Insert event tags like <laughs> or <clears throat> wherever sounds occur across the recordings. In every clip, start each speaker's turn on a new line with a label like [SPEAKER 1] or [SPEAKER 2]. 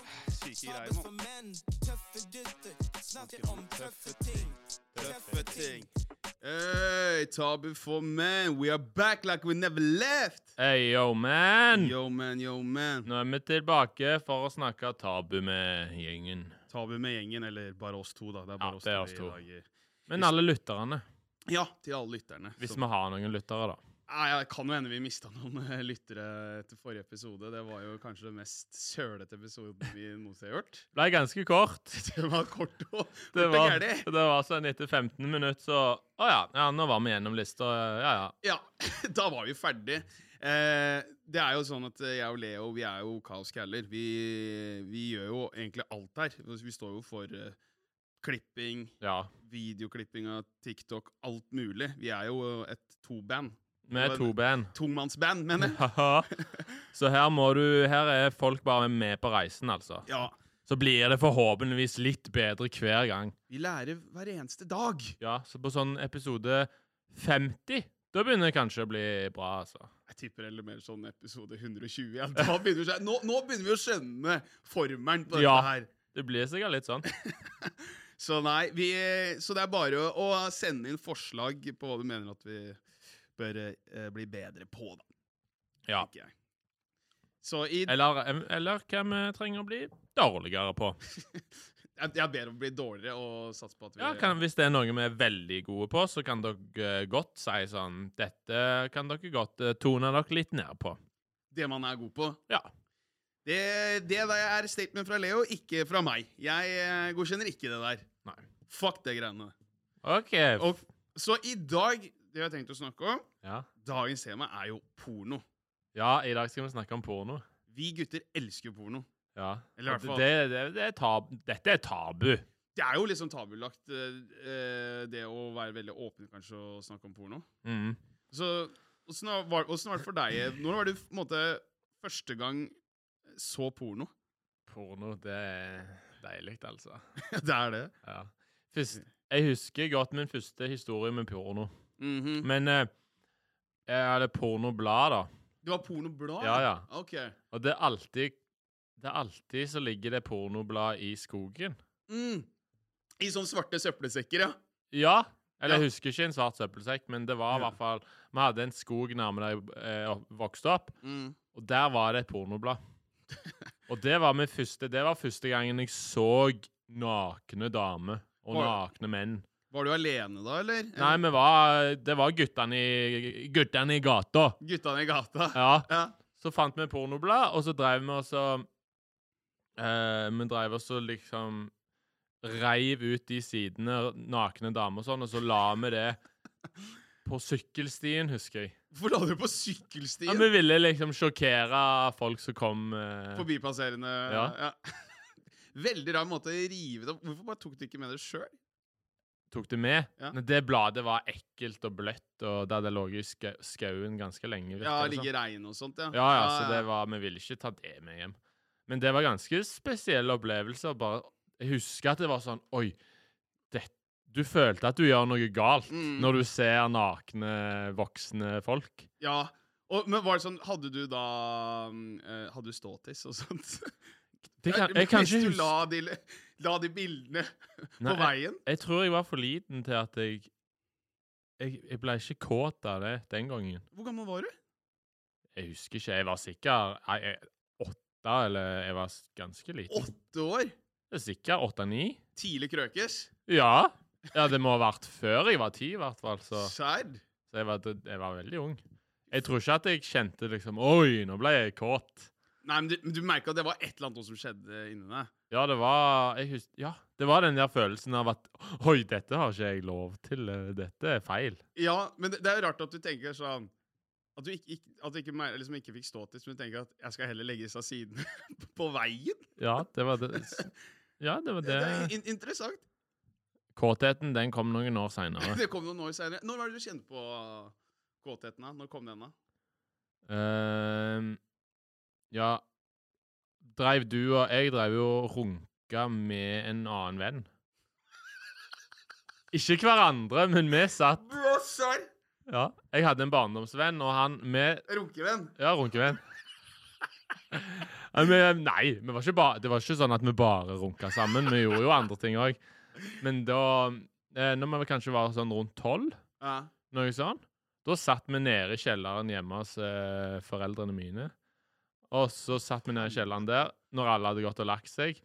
[SPEAKER 1] ikke greie nå.
[SPEAKER 2] Tøffe gutter snakker om tøffe ting.
[SPEAKER 1] Tøffe ting. Hey, tabu for men. We are back like we never left.
[SPEAKER 3] Hey, yo, man!
[SPEAKER 1] Yo, man, yo, man.
[SPEAKER 3] Nå er vi tilbake for å snakke tabu med gjengen.
[SPEAKER 1] Tabu med gjengen, eller bare oss to, da. Det er bare
[SPEAKER 3] Ja,
[SPEAKER 1] oss
[SPEAKER 3] det er
[SPEAKER 1] to.
[SPEAKER 3] oss
[SPEAKER 1] i dag.
[SPEAKER 3] Men alle lytterne.
[SPEAKER 1] Ja, til alle lytterne.
[SPEAKER 3] Hvis
[SPEAKER 1] som-
[SPEAKER 3] vi har noen lyttere, da.
[SPEAKER 1] Nei, ja, det kan jo hende vi mista noen eh, lyttere etter forrige episode. Det var jo kanskje det mest sølete episoden vi noensinne har hørt.
[SPEAKER 3] Ble ganske
[SPEAKER 1] <laughs>
[SPEAKER 3] kort. <laughs>
[SPEAKER 1] Det var kort og
[SPEAKER 3] Det
[SPEAKER 1] fort og
[SPEAKER 3] var,
[SPEAKER 1] gærlig.
[SPEAKER 3] det var sånn etter 15 minutter, så Å ja, ja, nå var vi gjennom lista. Ja, ja.
[SPEAKER 1] Ja, <laughs> da var vi ferdig. Eh, det er jo sånn at eh, jeg og Leo vi er jo kaoscaller. Vi, vi gjør jo egentlig alt her. Vi står jo for eh, klipping,
[SPEAKER 3] ja.
[SPEAKER 1] videoklipping av TikTok, alt mulig. Vi er jo eh, et to-band.
[SPEAKER 3] Vi er to band.
[SPEAKER 1] Tomannsband, mener jeg.
[SPEAKER 3] <laughs> Haha. så her må du Her er folk bare med på reisen, altså.
[SPEAKER 1] Ja.
[SPEAKER 3] Så blir det forhåpentligvis litt bedre hver gang.
[SPEAKER 1] Vi lærer hver eneste dag.
[SPEAKER 3] Ja, så på sånn episode 50 Da begynner det kanskje å bli bra, altså.
[SPEAKER 1] Jeg tipper eller mer sånn episode 120. Ja. Da begynner vi, å skjø- nå, nå begynner vi å skjønne formelen på dette
[SPEAKER 3] Ja.
[SPEAKER 1] her.
[SPEAKER 3] Det blir sikkert litt sånn.
[SPEAKER 1] Så nei, vi, så det er bare å, å sende inn forslag på hva du mener at vi bør eh, bli bedre på, da.
[SPEAKER 3] Ja.
[SPEAKER 1] tenker jeg. Så i, jeg,
[SPEAKER 3] Eller, eller hva vi trenger å bli dårligere på.
[SPEAKER 1] jeg ber om å bli dårligere og satse på at vi
[SPEAKER 3] Ja, kan, Hvis det er noe vi er veldig gode på, så kan dere eh, godt si sånn Dette kan dere godt eh, tone dere litt ned på.
[SPEAKER 1] det man er god på.
[SPEAKER 3] Ja.
[SPEAKER 1] Det, det der er statement fra Leo, ikke fra meg. Jeg eh, godkjenner ikke det der.
[SPEAKER 3] Nei.
[SPEAKER 1] Fuck det greiene.
[SPEAKER 3] OK. f-
[SPEAKER 1] Og, så i dag, det jeg har tenkt å snakke om,
[SPEAKER 3] ja.
[SPEAKER 1] dagens tema er jo porno.
[SPEAKER 3] ja, i dag skal vi snakke om porno.
[SPEAKER 1] Vi gutter elsker porno.
[SPEAKER 3] Ja.
[SPEAKER 1] Eller i hvert fall-
[SPEAKER 3] Det, det, det er tab Dette er tabu.
[SPEAKER 1] Det er jo litt sånn tabulagt, eh, eh, det å være veldig åpen kanskje og snakke om porno.
[SPEAKER 3] Mm.
[SPEAKER 1] Så åssen har- var åssen var det for deg? Når var det på en måte første gang så porno?
[SPEAKER 3] Porno, det er deilig, altså.
[SPEAKER 1] det er det.
[SPEAKER 3] <laughs> Ja. Først, jeg husker godt min første historie med porno.
[SPEAKER 1] Mhm.
[SPEAKER 3] Men eh, jeg hadde pornoblad, da.
[SPEAKER 1] Du har pornoblad?
[SPEAKER 3] Ja, ja.
[SPEAKER 1] Ok.
[SPEAKER 3] Og det er alltid Det er alltid så ligger det pornoblad i skogen.
[SPEAKER 1] Mm. I sånne svarte søppelsekker, ja.
[SPEAKER 3] Ja. Eller
[SPEAKER 1] Ja.
[SPEAKER 3] jeg husker ikke en svart søppelsekk, men det var i
[SPEAKER 1] Ja.
[SPEAKER 3] hvert fall Vi hadde en skog nærme der jeg eh, opp- vokste opp,
[SPEAKER 1] Mm.
[SPEAKER 3] og der var det et pornoblad. og det var, min første, det var første gangen jeg så nakne damer og
[SPEAKER 1] Var-
[SPEAKER 3] nakne menn.
[SPEAKER 1] Var du alene da, eller?
[SPEAKER 3] Nei, vi var Det var guttene i, guttene i gata.
[SPEAKER 1] Guttene i gata?
[SPEAKER 3] Ja.
[SPEAKER 1] Ja.
[SPEAKER 3] Så fant vi pornoblad, og så drev vi også eh, Vi drev også liksom Reiv ut de sidene, nakne damer og sånn, og så la vi det på sykkelstien, husker jeg.
[SPEAKER 1] Hvorfor la du på
[SPEAKER 3] Ja,
[SPEAKER 1] sykkelstien?
[SPEAKER 3] vi ville liksom sjokkere folk som kom eh,
[SPEAKER 1] Forbipasserende
[SPEAKER 3] Ja.
[SPEAKER 1] <laughs> Veldig rar måte å rive det opp Hvorfor bare tok du ikke med det sjøl?
[SPEAKER 3] Tok det med.
[SPEAKER 1] Ja.
[SPEAKER 3] Men det bladet var ekkelt og bløtt, og det hadde ligget i ska- skauen ganske lenge. virker
[SPEAKER 1] Ja,
[SPEAKER 3] det som.
[SPEAKER 1] ligge i regn og sånt, ja.
[SPEAKER 3] Ja, ja, så det var, vi ville ikke ta det med hjem. Men det var ganske spesielle opplevelser. Bare, jeg husker at det var sånn Oi, det, du følte at du gjør noe galt
[SPEAKER 1] Mm.
[SPEAKER 3] når du ser nakne, voksne folk.
[SPEAKER 1] Ja. Og, men var det sånn, hadde du da mm, eh, Hadde du ståtiss og sånt?
[SPEAKER 3] Det
[SPEAKER 1] <laughs>
[SPEAKER 3] kan, jeg kan ikke
[SPEAKER 1] Hvis du
[SPEAKER 3] huske
[SPEAKER 1] la de, la de bildene på
[SPEAKER 3] Nei, jeg,
[SPEAKER 1] veien?
[SPEAKER 3] jeg tror jeg var for liten til at jeg Jeg, jeg ble ikke kåt av det den gangen.
[SPEAKER 1] Hvor gammel var du?
[SPEAKER 3] Jeg husker ikke. Jeg var sikkert nei, jeg- åtte, eller jeg var s- ganske liten.
[SPEAKER 1] Åtte år?
[SPEAKER 3] Sikkert åtte-ni.
[SPEAKER 1] Tidlig krøkes?
[SPEAKER 3] Ja. ja, det må ha vært før jeg var ti, i hvert fall. Så.
[SPEAKER 1] Serd?
[SPEAKER 3] Så jeg var, jeg var veldig ung. Jeg tror ikke at jeg kjente liksom Oi, nå ble jeg kåt.
[SPEAKER 1] Nei, men du, men du merka at det var et eller annet som skjedde inni deg.
[SPEAKER 3] Ja, det var jeg hus Ja, det var den der følelsen av at Oi, dette har ikke jeg lov til. eh, Dette er feil.
[SPEAKER 1] Ja, men det, det er jo rart at du tenker sånn At du ikke, ikke, at du ikke, mer- liksom ikke fikk ståtiss, men du tenker at jeg skal heller legges av siden <laughs> på veien.
[SPEAKER 3] Ja, det var det s- Ja, det var
[SPEAKER 1] Det, er
[SPEAKER 3] det.
[SPEAKER 1] in interessant.
[SPEAKER 3] Kåtheten, den kom noen år seinere.
[SPEAKER 1] <laughs> Det kom noen år senere. Når var det du kjente på uh, kåtheten? da? Når kom den, da?
[SPEAKER 3] Ehm, ja Dreiv du og Jeg dreiv jo og runka med en annen venn. Ikke hverandre, men vi satt
[SPEAKER 1] Bro, sær!
[SPEAKER 3] Ja. Jeg hadde en barndomsvenn, og han Vi
[SPEAKER 1] Runkevenn.
[SPEAKER 3] Ja, runkevenn. Ja, men, eh, nei, vi var ikke ba, det var ikke sånn at vi bare runka sammen. Vi gjorde jo andre ting òg. Men da eh, Når vi kanskje var sånn rundt tolv,
[SPEAKER 1] Ja.
[SPEAKER 3] noe sånn, da satt vi nede i kjelleren hjemme hos eh, foreldrene mine. Og så satt vi nede i kjelleren der når alle hadde gått og lagt seg.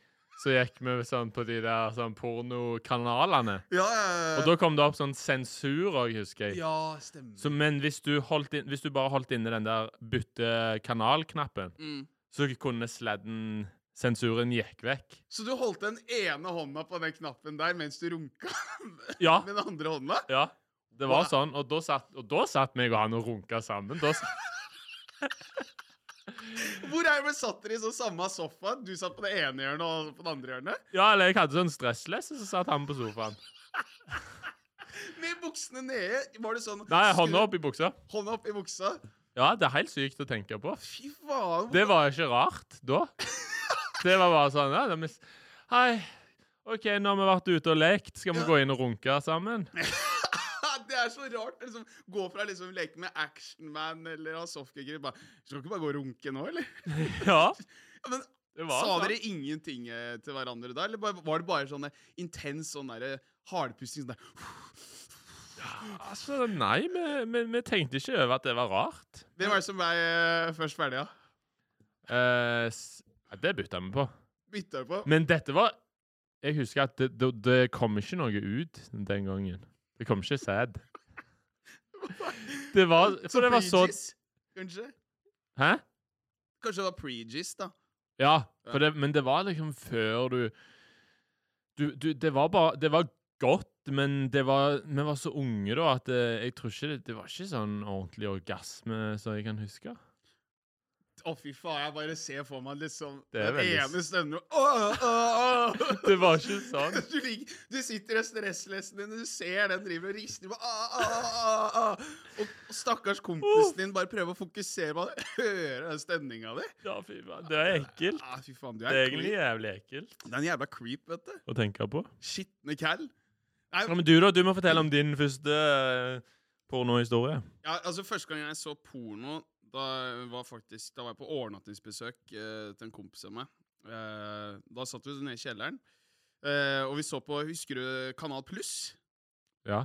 [SPEAKER 3] Så gikk vi sånn på de der sånn pornokanalene.
[SPEAKER 1] Ja, ja,
[SPEAKER 3] Og da kom det opp sånn sensur òg, husker jeg.
[SPEAKER 1] ja, stemmer.
[SPEAKER 3] Så, men hvis du, holdt inn, hvis du bare holdt inne den der bytte kanal-knappen,
[SPEAKER 1] mm.
[SPEAKER 3] så kunne sladden Sensuren gikk vekk.
[SPEAKER 1] Så du holdt den ene hånda på den knappen der mens du runka <laughs>
[SPEAKER 3] Ja,
[SPEAKER 1] med den andre hånda?
[SPEAKER 3] ja. Det var
[SPEAKER 1] Wow.
[SPEAKER 3] sånn. Og da satt, og da satt meg og han og runka sammen. Da, s-
[SPEAKER 1] Hvor er det vi satt dere i så samme sofa? Du satt på det ene hjørnet og på det andre hjørnet?
[SPEAKER 3] ja, eller jeg hadde sånn stresslesse, så satt han på sofaen.
[SPEAKER 1] Med buksene nede? Var det sånn
[SPEAKER 3] Nei, hånda opp i buksa.
[SPEAKER 1] Skulle- Hånda opp i buksa?
[SPEAKER 3] Ja, det er helt sykt å tenke på.
[SPEAKER 1] Fy faen.
[SPEAKER 3] Det var ikke rart da. Det var bare sånn ja, det er mis- Hei, OK, nå har vi vært ute og lekt. Skal vi gå inn og runke sammen?
[SPEAKER 1] <laughs> det er så rart. Liksom, gå fra liksom leke med Actionman eller ha softgigger bare Skal du ikke bare gå og runke nå, eller?
[SPEAKER 3] Ja.
[SPEAKER 1] Ja, men
[SPEAKER 3] Det var
[SPEAKER 1] Sa
[SPEAKER 3] sånn.
[SPEAKER 1] dere ingenting eh, til hverandre da, eller bare, var det bare sånn eh, intens sånn derre hardpusting sånn der
[SPEAKER 3] Altså, nei, vi, vi, vi tenkte ikke over at det var rart.
[SPEAKER 1] Hvem var det som ble eh, først ferdig, da? Ja?
[SPEAKER 3] Eh, s- ja, det bytta vi på.
[SPEAKER 1] Bytta du på? <laughs>
[SPEAKER 3] Men dette var Jeg husker at det, det, det kom ikke noe ut den gangen. Det kom ikke sæd. Det <laughs> var For det var så
[SPEAKER 1] pre-jizz, Kanskje?
[SPEAKER 3] Hæ?
[SPEAKER 1] Kanskje det var pre-jizz, da.
[SPEAKER 3] Ja, for det, men det var liksom før du Du, du Det var bare Det var godt, men det var Vi var så unge da at eh, jeg tror ikke det, det var ikke sånn ordentlig orgasme som jeg kan huske. <laughs>
[SPEAKER 1] Å, fy faen, jeg bare ser for meg liksom
[SPEAKER 3] Det er
[SPEAKER 1] den
[SPEAKER 3] veldig s-
[SPEAKER 1] ene stønner Åh, åh, åh.
[SPEAKER 3] Det var ikke sånn.
[SPEAKER 1] <laughs> Du, ligger, du sitter i stresslesen din, og du ser den driver og rister på ah, ah, ah, ah. Og, og stakkars kompisen din bare prøver å fokusere på det. Hører den stønninga di.
[SPEAKER 3] Ja, fy faen. Det er ekkelt.
[SPEAKER 1] Ah, fy faen, du er,
[SPEAKER 3] Det er
[SPEAKER 1] creep.
[SPEAKER 3] egentlig jævlig ekkelt
[SPEAKER 1] Det er en jævla creep, vet du.
[SPEAKER 3] å tenke på.
[SPEAKER 1] Skitne cal.
[SPEAKER 3] Ja, men du, da? Du må fortelle om din første eh, pornohistorie.
[SPEAKER 1] Ja, altså Første gang jeg så porno, da var, faktisk, da var jeg på overnattingsbesøk eh, til en kompis av meg. Eh, da satt vi nede i kjelleren, eh, og vi så på Husker du Kanal Pluss?
[SPEAKER 3] Ja.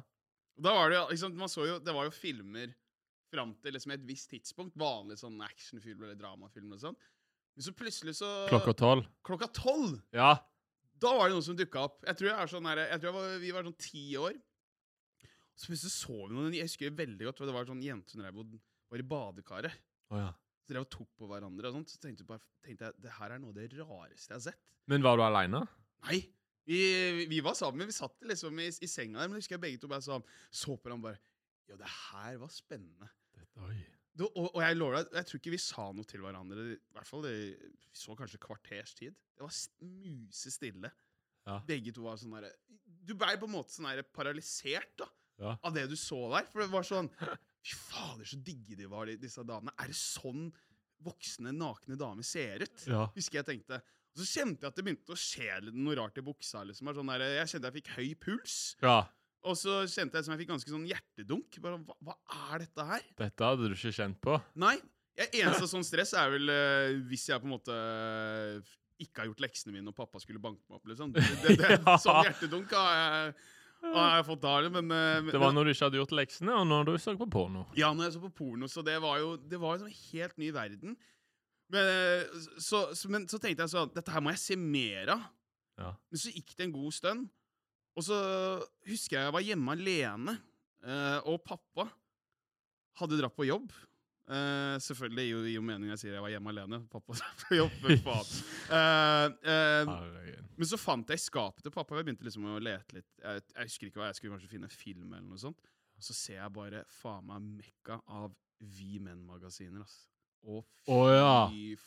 [SPEAKER 1] Og Da var det, jo, liksom, man så jo, det var jo filmer fram til liksom, et visst tidspunkt. Vanlige sånn actionfilmer eller dramafilmer. og sånn. Men så plutselig så
[SPEAKER 3] Klokka tolv.
[SPEAKER 1] Klokka tolv!
[SPEAKER 3] Ja.
[SPEAKER 1] Da var det noen som dukka opp. Jeg tror, jeg er sånn her, jeg tror jeg var, vi var sånn ti år. Så plutselig så vi noen Jeg husker veldig godt for det var sånn jenter som drev og var i badekaret.
[SPEAKER 3] Å, ja.
[SPEAKER 1] Så drev og tok på hverandre og sånt. Så tenkte, jeg bare, tenkte jeg det her er noe av det rareste jeg har sett.
[SPEAKER 3] Men var du aleine?
[SPEAKER 1] Nei! Vi, vi var sammen, men vi satt liksom i, i senga der. Men jeg husker jeg begge to bare sånn så på hverandre og bare Ja, det her var spennende. Du, og, og jeg lover deg, jeg tror ikke vi sa noe til hverandre. I hvert fall det, Vi så kanskje et kvarters tid. Det var s- musestille.
[SPEAKER 3] Ja.
[SPEAKER 1] Begge to var sånn derre Du blei på en måte sånn derre paralysert da,
[SPEAKER 3] Ja.
[SPEAKER 1] av det du så der. For det var sånn Fy fader, så digge de var, de- disse damene. Er det sånn voksne, nakne damer ser ut?
[SPEAKER 3] Ja.
[SPEAKER 1] Husker jeg tenkte. Og så kjente jeg at det begynte å skje litt noe rart i buksa. liksom. Bare Sånn der, jeg kjente jeg fikk høy puls.
[SPEAKER 3] ja.
[SPEAKER 1] Og så kjente jeg som jeg fikk ganske sånn hjertedunk. Bare, hva, hva er dette her?
[SPEAKER 3] Dette hadde du ikke kjent på.
[SPEAKER 1] Nei. Jeg, eneste sånn stress er vel eh, hvis jeg på en måte eh, ikke har gjort leksene mine, og pappa skulle banke meg opp, liksom. Det, det, det,
[SPEAKER 3] <laughs> Ja.
[SPEAKER 1] Sånn hjertedunk har jeg, har jeg fått da, men, eh, men
[SPEAKER 3] Det var når du ikke hadde gjort leksene, og når du så på porno.
[SPEAKER 1] ja, når jeg så på porno, så det var jo Det var jo en helt ny verden. Men eh, så, så, men så tenkte jeg sånn Dette her må jeg se mer av.
[SPEAKER 3] Ja.
[SPEAKER 1] Men så gikk det en god stund. Og så husker jeg jeg var hjemme alene, eh, og pappa hadde dratt på jobb. Eh, selvfølgelig gir jo- gir jo mening når jeg sier jeg var hjemme alene. Pappa <laughs> dratt på jobb, men faen. Eh, eh,
[SPEAKER 3] <laughs> Herregud.
[SPEAKER 1] men så fant jeg skapet til pappa. og Jeg begynte liksom å lete litt. Jeg, jeg husker ikke hva jeg skulle kanskje finne en film eller noe sånt. Og så ser jeg bare faen meg mekka av Vi Menn-magasiner, ass. Å, fy
[SPEAKER 3] Å, ja.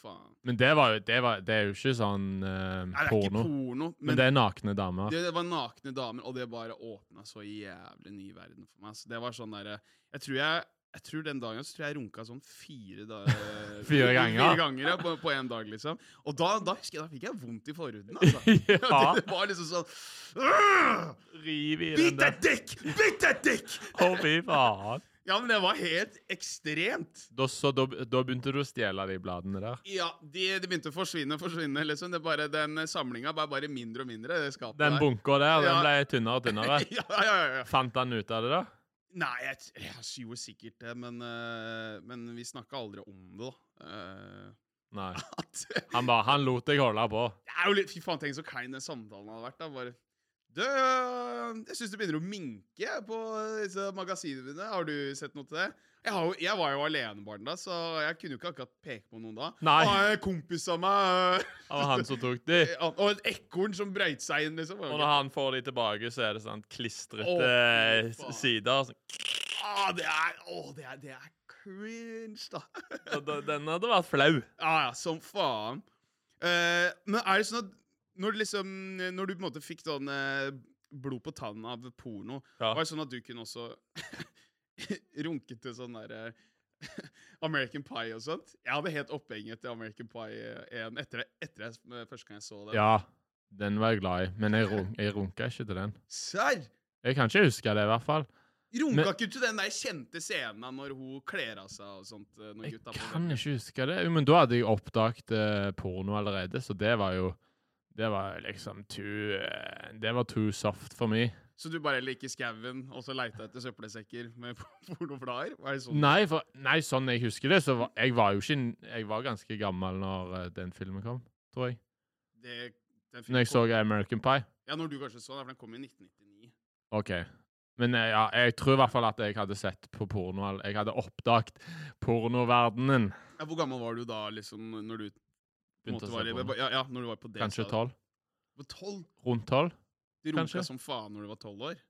[SPEAKER 1] faen.
[SPEAKER 3] Men det, var jo, det, var, det er jo ikke sånn eh,
[SPEAKER 1] Nei, det er
[SPEAKER 3] porno.
[SPEAKER 1] ikke porno,
[SPEAKER 3] men,
[SPEAKER 1] men
[SPEAKER 3] det er nakne damer.
[SPEAKER 1] det, det var nakne damer, og det bare åpna så jævlig ny verden for meg. ass. det var sånn derre Jeg tror jeg jeg tror Den dagen så tror jeg jeg runka sånn fire da,
[SPEAKER 3] <laughs> Fire ganger.
[SPEAKER 1] fire ganger ja, på, på en dag. liksom Og da, da husker jeg, da fikk jeg vondt i forhuden. Altså.
[SPEAKER 3] <laughs> <laughs> Ja.
[SPEAKER 1] <laughs> Det var liksom sånn «Åh!»
[SPEAKER 3] Riv i
[SPEAKER 1] Bit deg dekk! Bit deg dekk!
[SPEAKER 3] Å, fy faen.
[SPEAKER 1] Ja, men det var helt ekstremt.
[SPEAKER 3] Da, så, da, da begynte du å stjele de bladene der.
[SPEAKER 1] Ja, de, de begynte å forsvinne forsvinne, liksom. Det er bare, den samlinga var bare mindre og mindre. det skapet
[SPEAKER 3] Den
[SPEAKER 1] der.
[SPEAKER 3] bunka der den
[SPEAKER 1] Ja.
[SPEAKER 3] ble tynnere og
[SPEAKER 1] <laughs>
[SPEAKER 3] tynnere.
[SPEAKER 1] ja, ja, ja, ja.
[SPEAKER 3] Fant han ut av det, da?
[SPEAKER 1] Nei, jeg, t- jeg s- gjorde sikkert det, men, eh, men vi snakka aldri om det, da. Eh, <laughs>
[SPEAKER 3] Nei.
[SPEAKER 1] at,
[SPEAKER 3] Han bare, han lot deg holde på.
[SPEAKER 1] det er jo litt, Fy faen, tenk så klein den samtalen hadde vært. da, bare... Du, jeg syns det begynner å minke på disse magasinene mine. Har du sett noe til det? Jeg, har jo, jeg var jo alenebarn da, så jeg kunne jo ikke akkurat peke på noen da.
[SPEAKER 3] Nei.
[SPEAKER 1] Ah, en kompis av meg eh,
[SPEAKER 3] Det var han som tok de.
[SPEAKER 1] <laughs> Og og et ekorn som brøyt seg inn, liksom.
[SPEAKER 3] Og når han får de tilbake, så er det sånn
[SPEAKER 1] Å,
[SPEAKER 3] klistrete
[SPEAKER 1] fy
[SPEAKER 3] s-
[SPEAKER 1] faen.
[SPEAKER 3] sider. sånn.
[SPEAKER 1] ah, det, er, åh, det, er, det er cringe, da.
[SPEAKER 3] Og da- Den hadde vært flau.
[SPEAKER 1] Ja, ja, som faen. Eh, men er det sånn at når du liksom Når du på en måte fikk sånn eh, blod på tannen av porno,
[SPEAKER 3] Ja.
[SPEAKER 1] var det sånn at du kunne også <laughs> runke til sånn der eh, <laughs> American Pie og sånt? Jeg hadde helt opphenget til American Pie 1 etter, etter jeg, med første gang jeg så den.
[SPEAKER 3] Ja, den var jeg glad i, men jeg, run jeg runka ikke til den.
[SPEAKER 1] Serr!
[SPEAKER 3] Jeg kan ikke huske det, i hvert fall. Men-
[SPEAKER 1] Runka ikke du til den der kjente scenen av når hun kler av seg og sånt? eh, Når
[SPEAKER 3] Jeg
[SPEAKER 1] gutta på
[SPEAKER 3] kan ikke huske det. Jo, Men da hadde jeg oppdaget eh, porno allerede, så det var jo Det var liksom too eh, Det var too soft for meg.
[SPEAKER 1] Så du bare liker skauen, og så leita etter søppelsekker med <laughs> pornoblader? Er det sånn?
[SPEAKER 3] Nei, for, nei, sånn jeg husker det, så var jeg var jo ikke Jeg var ganske gammel når eh, den filmen kom, tror jeg.
[SPEAKER 1] Det, den filmen
[SPEAKER 3] Når jeg så
[SPEAKER 1] kom-
[SPEAKER 3] American Pie.
[SPEAKER 1] Ja, når du kanskje så den, for den kom i 1999.
[SPEAKER 3] OK. Men eh, ja, jeg tror i hvert fall at jeg hadde sett på porno all- Jeg hadde oppdaget pornoverdenen.
[SPEAKER 1] Ja, Hvor gammel var du da, liksom, når du på en
[SPEAKER 3] Begynte
[SPEAKER 1] måte
[SPEAKER 3] å
[SPEAKER 1] var i
[SPEAKER 3] se på den.
[SPEAKER 1] ja, ja, når du var på det
[SPEAKER 3] Kanskje
[SPEAKER 1] stadiet?
[SPEAKER 3] tolv?
[SPEAKER 1] På tolv?
[SPEAKER 3] Rundt tolv?
[SPEAKER 1] Du runka
[SPEAKER 3] Kanskje.
[SPEAKER 1] som faen når du var tolv år?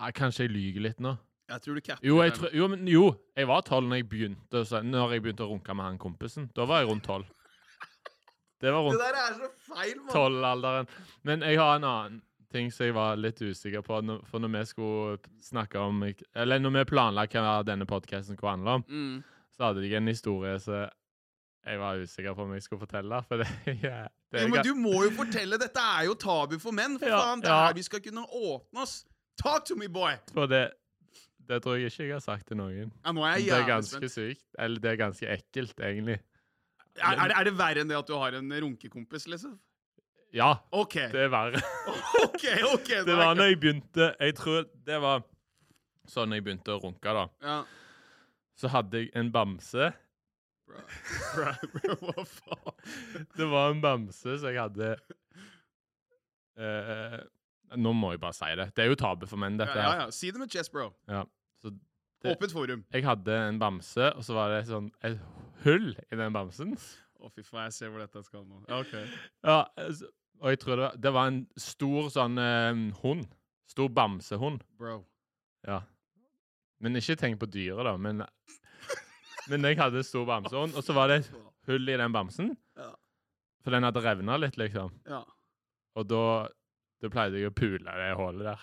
[SPEAKER 3] Nei, Kanskje jeg lyver litt nå.
[SPEAKER 1] Jeg tror du capper
[SPEAKER 3] Jo, jeg,
[SPEAKER 1] den.
[SPEAKER 3] tror- jo, men, jo, jeg var tolv når jeg begynte å se- Når jeg begynte å runke med han kompisen. Da var jeg rundt tolv. Det var
[SPEAKER 1] Det
[SPEAKER 3] rundt
[SPEAKER 1] der er så feil, mann!
[SPEAKER 3] tolv-alderen. Men jeg har en annen ting som jeg var litt usikker på. når- For når vi skulle snakke om Eller når vi planla hva denne podkasten skulle handle om,
[SPEAKER 1] Mm.
[SPEAKER 3] så hadde jeg en historie som jeg var usikker på om jeg skulle fortelle. For det, <laughs> ja, det
[SPEAKER 1] Jo, men du må jo fortelle! Dette er jo tabu for menn! For
[SPEAKER 3] Ja,
[SPEAKER 1] faen, det er
[SPEAKER 3] ja.
[SPEAKER 1] her vi skal kunne åpne oss! Talk to me, boy!
[SPEAKER 3] For det, det tror jeg ikke jeg har sagt til noen.
[SPEAKER 1] Ja, nå er
[SPEAKER 3] Det
[SPEAKER 1] jeg
[SPEAKER 3] er
[SPEAKER 1] jævlig
[SPEAKER 3] ganske
[SPEAKER 1] spent.
[SPEAKER 3] sykt. Eller det er ganske ekkelt, egentlig.
[SPEAKER 1] Er, er, det, er det verre enn det at du har en runkekompis, liksom?
[SPEAKER 3] Ja,
[SPEAKER 1] OK.
[SPEAKER 3] det er verre.
[SPEAKER 1] <laughs> OK, ok.
[SPEAKER 3] Det var når jeg begynte Jeg tror det var sånn jeg begynte å runke, da.
[SPEAKER 1] ja.
[SPEAKER 3] Så hadde jeg en bamse.
[SPEAKER 1] Bra. Bra. Bra. Hva faen?
[SPEAKER 3] <laughs> Det var en bamse som jeg hadde eh, Nå må jeg bare si det. Det er jo tabu for menn,
[SPEAKER 1] Ja,
[SPEAKER 3] dette
[SPEAKER 1] ja,
[SPEAKER 3] her.
[SPEAKER 1] ja. Si det med chest, bro.
[SPEAKER 3] Ja. Så Det-
[SPEAKER 1] Åpent forum.
[SPEAKER 3] jeg hadde en bamse, og så var det sånn et hull i den bamsen.
[SPEAKER 1] Å, fy faen, jeg ser hvor dette skal nå. Ja, ok.
[SPEAKER 3] Ja, altså, og jeg tror det var, det var en stor sånn eh, hund. Stor bamsehund.
[SPEAKER 1] Bro.
[SPEAKER 3] Ja. Men ikke tenk på dyret, da. Men, men jeg hadde en stor bamsehund, Sånn, og så var det et hull i den bamsen.
[SPEAKER 1] Ja.
[SPEAKER 3] For den hadde revna litt, liksom.
[SPEAKER 1] Ja.
[SPEAKER 3] Og da, da pleide jeg å pule det hullet der.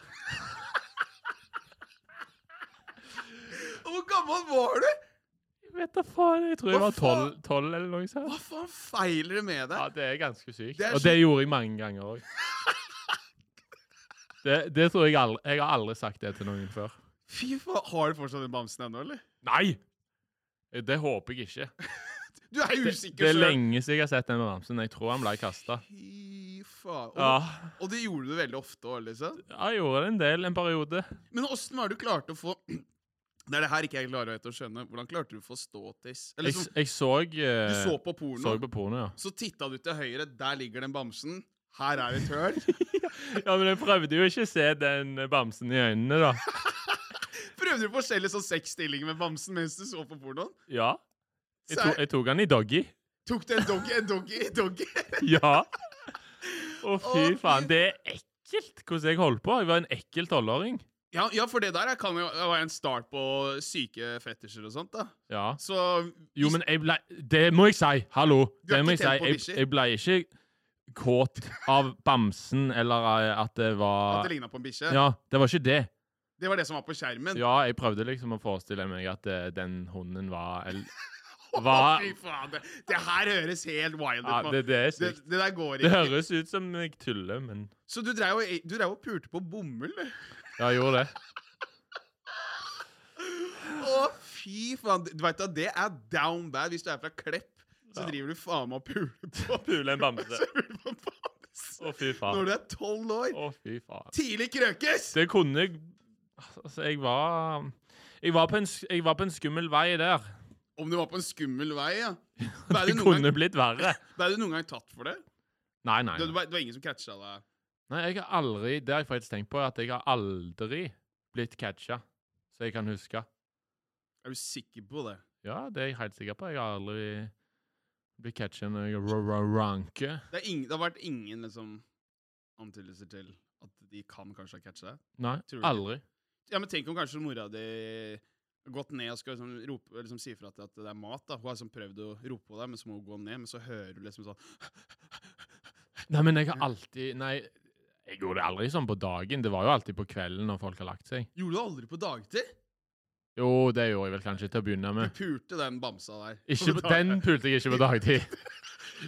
[SPEAKER 1] Hvor gammel var du?
[SPEAKER 3] Jeg vet da faen. Jeg tror jeg
[SPEAKER 1] Hva
[SPEAKER 3] var tolv tolv eller noe
[SPEAKER 1] Hva
[SPEAKER 3] sånt.
[SPEAKER 1] faen feiler det med
[SPEAKER 3] Ja,
[SPEAKER 1] deg?
[SPEAKER 3] det er ganske sykt.
[SPEAKER 1] Det er
[SPEAKER 3] og det gjorde jeg mange ganger <laughs> òg. Det, det tror jeg aldri Jeg har aldri sagt det til noen før.
[SPEAKER 1] Fy faen, Har du fortsatt den bamsen ennå, eller?
[SPEAKER 3] Nei! Det håper jeg ikke.
[SPEAKER 1] Du er
[SPEAKER 3] Det,
[SPEAKER 1] usikker
[SPEAKER 3] det er
[SPEAKER 1] selv.
[SPEAKER 3] lenge siden jeg har sett den bamsen. Jeg tror han ble kasta.
[SPEAKER 1] Fy faen. Og,
[SPEAKER 3] Ja.
[SPEAKER 1] og det gjorde du veldig ofte òg, liksom?
[SPEAKER 3] Jeg gjorde det en del en periode.
[SPEAKER 1] Men åssen har du klart å få <clears throat> Det er det her ikke jeg klarer helt å skjønne. Hvordan klarte du å få ståtiss? Eller
[SPEAKER 3] Jeg,
[SPEAKER 1] som,
[SPEAKER 3] s- jeg så, eh,
[SPEAKER 1] du så på porno,
[SPEAKER 3] så på porno, ja.
[SPEAKER 1] så titta du til høyre, der ligger den bamsen. Her er et <laughs> høl.
[SPEAKER 3] Ja, Men jeg prøvde jo ikke å se den eh, bamsen i øynene,
[SPEAKER 1] <laughs>
[SPEAKER 3] da.
[SPEAKER 1] Prøvde du forskjellige sånn sexstillinger med bamsen mens du så på pornoen?
[SPEAKER 3] Ja. Jeg, to,
[SPEAKER 1] Sær-
[SPEAKER 3] jeg tok den i doggy.
[SPEAKER 1] Tok du en doggy, en doggy, en doggy?
[SPEAKER 3] <laughs> Ja. Å, fy
[SPEAKER 1] Å, fy-
[SPEAKER 3] faen. Det er ekkelt hvordan jeg holdt på. Jeg var en ekkel tolvåring.
[SPEAKER 1] Ja, ja, for det der er- kan jo være en start på syke fetisjer og sånt, da.
[SPEAKER 3] Ja.
[SPEAKER 1] Så
[SPEAKER 3] Jo, men jeg ble Det må jeg si! Hallo!
[SPEAKER 1] Du
[SPEAKER 3] Det
[SPEAKER 1] er
[SPEAKER 3] må
[SPEAKER 1] ikke
[SPEAKER 3] jeg si.
[SPEAKER 1] tempo
[SPEAKER 3] Jeg,
[SPEAKER 1] bikkje.
[SPEAKER 3] jeg ble ikke kåt av bamsen eller eh, at det
[SPEAKER 1] At
[SPEAKER 3] var
[SPEAKER 1] det ligna på en bikkje.
[SPEAKER 3] Ja, det var ikke det.
[SPEAKER 1] Det var det som var på skjermen.
[SPEAKER 3] Ja, jeg prøvde liksom å forestille meg at eh, den hunden var
[SPEAKER 1] <laughs>
[SPEAKER 3] el-
[SPEAKER 1] <laughs> Å,
[SPEAKER 3] Hva-
[SPEAKER 1] Fy faen, det, det her høres helt wild ut.
[SPEAKER 3] Ja,
[SPEAKER 1] mann.
[SPEAKER 3] det, det er
[SPEAKER 1] det,
[SPEAKER 3] sykt.
[SPEAKER 1] det der går
[SPEAKER 3] Det
[SPEAKER 1] ikke.
[SPEAKER 3] høres ut som jeg tuller, men
[SPEAKER 1] Så du <laughs> drev, og, du drev og pulte på bomull? du?
[SPEAKER 3] Ja, jeg gjorde det.
[SPEAKER 1] Å, fy faen. Du vet da, Det er down bad. Hvis du er fra Klepp, så
[SPEAKER 4] Ja.
[SPEAKER 1] driver du faen meg og puler på
[SPEAKER 4] Pule en bamse.
[SPEAKER 1] Så <laughs> puler du på bamse.
[SPEAKER 4] Å, fy faen.
[SPEAKER 1] Når du er tolv år.
[SPEAKER 4] Å, fy faen.
[SPEAKER 1] Tidlig krøkes!
[SPEAKER 4] Det kunne jeg
[SPEAKER 3] Altså, jeg var jeg var, på en, sk- jeg var på en skummel vei der.
[SPEAKER 1] Om du var på en skummel vei, ja. Ble
[SPEAKER 3] Det
[SPEAKER 1] du noen
[SPEAKER 3] kunne
[SPEAKER 1] gang,
[SPEAKER 3] blitt verre.
[SPEAKER 1] ble du noen gang tatt for det?
[SPEAKER 3] Nei, nei.
[SPEAKER 1] Det, det,
[SPEAKER 3] nei.
[SPEAKER 1] var, det var ingen som catcha deg?
[SPEAKER 3] nei jeg har aldri, det har jeg faktisk tenkt på, at jeg har aldri blitt catcha, så jeg kan huske.
[SPEAKER 1] Er du sikker på det?
[SPEAKER 3] Ja, det er jeg helt sikker på. Jeg har aldri blitt catcha når jeg r- r- ranker.
[SPEAKER 1] Det, er ingen, det har vært ingen liksom antydelser til at de kan kanskje ha catcha deg?
[SPEAKER 3] Nei,
[SPEAKER 1] Tror du ikke?
[SPEAKER 3] aldri.
[SPEAKER 1] Ja, men tenk om kanskje mora di har gått ned og skal liksom, rope, eller liksom si fra til at det er mat. da. Hun har liksom prøvd å rope på deg, men så må hun gå ned. Men så hører du liksom sånn
[SPEAKER 3] Nei, men jeg har alltid Nei, jeg gjorde det aldri sånn på dagen. Det var jo alltid på kvelden når folk har lagt seg.
[SPEAKER 1] Gjorde du det aldri på dagtid?
[SPEAKER 3] Jo, det gjorde jeg vel kanskje til å begynne
[SPEAKER 1] Du
[SPEAKER 3] med.
[SPEAKER 1] pulte den bamsa der.
[SPEAKER 3] Ikke på, den pulte jeg ikke på dagtid. <laughs>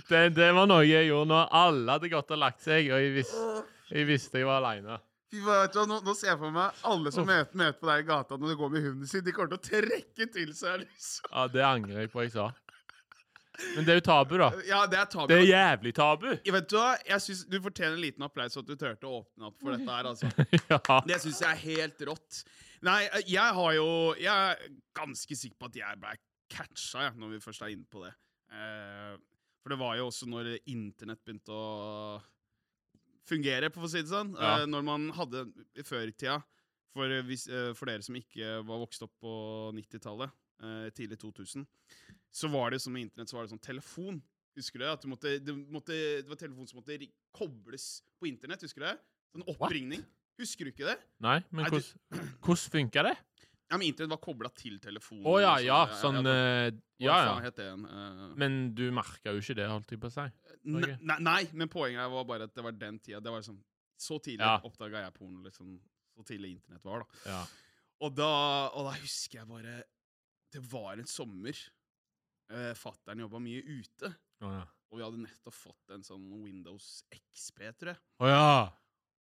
[SPEAKER 3] Det, det var noe jeg gjorde når alle hadde gått og lagt seg, og jeg, vis,
[SPEAKER 1] Åh,
[SPEAKER 3] jeg visste jeg var aleine.
[SPEAKER 1] Fy faen, vet du hva, nå, nå ser jeg for meg alle som møter, møter på deg i gata når du går med hunden sin, de kommer til å trekke til seg. liksom.
[SPEAKER 3] Ja, det angrer jeg på jeg sa. Men det er jo tabu, da.
[SPEAKER 1] Ja, det er tabu.
[SPEAKER 3] Det er jævlig tabu!
[SPEAKER 1] Vet du hva, jeg synes Du fortjener en liten applaus for at du turte å åpne opp for dette her.
[SPEAKER 3] <laughs>
[SPEAKER 1] altså.
[SPEAKER 3] <laughs> ja.
[SPEAKER 1] Det syns jeg er helt rått. Nei, jeg har jo Jeg er ganske sikker på at jeg ble catcha, jeg, når vi først er inne på det. Eh, for det var jo også når internett begynte å fungere, for å si det sånn.
[SPEAKER 3] Ja.
[SPEAKER 1] Eh, når man hadde Før i tida, for, hvis, eh, for dere som ikke var vokst opp på 90-tallet, eh, tidlig 2000, så var det jo sånn med internett, så var det sånn telefon. Husker du det? At du måtte, du måtte, det var telefon som måtte ri- kobles på internett, husker du det? Sånn
[SPEAKER 3] What?
[SPEAKER 1] oppringning. Husker du ikke det?
[SPEAKER 3] Nei, men
[SPEAKER 1] Nei, du-
[SPEAKER 3] hvordan hvordan funka det?
[SPEAKER 1] Ja, men Internett var kobla til telefonen.
[SPEAKER 3] Å ja,
[SPEAKER 1] og
[SPEAKER 3] ja, sånn
[SPEAKER 1] ja,
[SPEAKER 3] eh,
[SPEAKER 1] Hva
[SPEAKER 3] Ja,
[SPEAKER 1] faen
[SPEAKER 3] ja.
[SPEAKER 1] het det igjen? Eh,
[SPEAKER 3] Men du merka jo ikke det, holdt jeg på å si.
[SPEAKER 1] ne-
[SPEAKER 3] Norge.
[SPEAKER 1] nei, nei, men poenget her var bare at det var den tida. Det var liksom, så tidlig
[SPEAKER 3] Ja.
[SPEAKER 1] oppdaget oppdaga jeg porno. liksom, Så tidlig Internett var, da.
[SPEAKER 3] Ja.
[SPEAKER 1] Og da, og da husker jeg bare Det var en sommer. Uh, Fattern jobba mye ute,
[SPEAKER 3] Å ja.
[SPEAKER 1] og vi hadde nettopp fått en sånn Windows XP, tror jeg.
[SPEAKER 3] Å ja.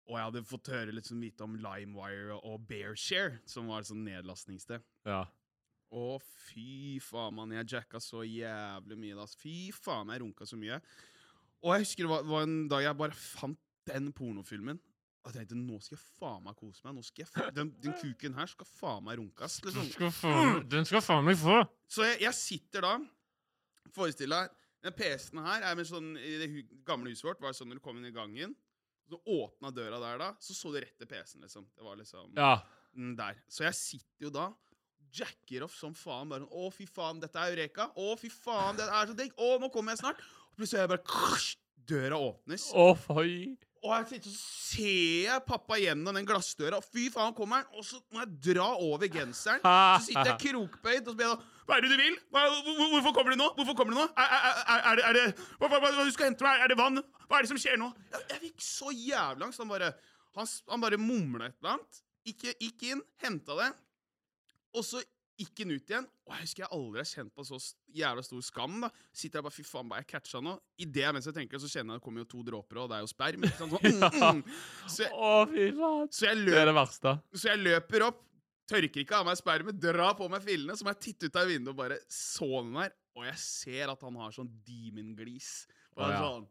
[SPEAKER 1] Og jeg hadde fått høre litt sånn vite om LimeWire og BearShare, som var et sånn nedlastningssted.
[SPEAKER 3] ja.
[SPEAKER 1] Å, fy faen, mann. Jeg jacka så jævlig mye da. ass. Fy faen, jeg runka så mye. Og jeg husker det var, var en dag jeg bare fant den pornofilmen. Og jeg tenkte nå skal jeg faen meg kose meg. Nå skal jeg fa den, den kuken her skal faen meg runkes. Liksom.
[SPEAKER 3] skal faen, den skal faen meg få!
[SPEAKER 1] Så jeg, jeg sitter da Forestill deg Den PC-en her er med sånn, I det hu gamle huset vårt var det sånn når du kom inn i gangen. Så åpna døra der, da, så så du rett til PC-en, liksom. Det var liksom
[SPEAKER 3] Ja.
[SPEAKER 1] den der. Så jeg sitter jo da, jacker off som faen. bare sånn, Å, fy faen, dette er Eureka. Å, fy faen, det er så digg. Å, nå kommer jeg snart. Og plutselig er jeg bare krasj, Døra åpnes.
[SPEAKER 3] Å, fy.
[SPEAKER 1] Og jeg sitter, så ser jeg pappa gjennom den glassdøra. og Fy faen, kommer han. Og så må jeg dra over genseren. Så sitter jeg krokbøyd og så blir jeg sånn Hva er det du vil? Hva, hvor- hvorfor kommer du nå? Hvorfor kommer du nå? Er, er, er, er, det- er det hva, hva, hva, hva du skal hente meg? Er det vann? Hva er det som skjer nå? Jeg, jeg fikk så jævlig angst. Han bare, han, s- han bare mumla et eller annet. Ikke, gikk inn, henta det, og så gikk han ut igjen. Og jeg husker jeg aldri har kjent på så s- jævla stor skam. da Sitter jeg bare Fy faen, hva jeg catcha nå? I det mens jeg tenker det, så kjenner jeg det kommer jo to dråper, og det er jo sperm. Ikke sant?
[SPEAKER 3] <laughs>
[SPEAKER 1] Så, mm, mm. Så, jeg-
[SPEAKER 3] Å, fy faen.
[SPEAKER 1] så jeg
[SPEAKER 3] Det
[SPEAKER 1] løper
[SPEAKER 3] er det verste.
[SPEAKER 1] så jeg løper opp, tørker ikke av meg spermen, drar på meg fillene, så må jeg titte ut av vinduet og bare så den der. Og jeg ser at han har sånn demon-glis. Og
[SPEAKER 3] Å,
[SPEAKER 1] han
[SPEAKER 3] ja.
[SPEAKER 1] sånn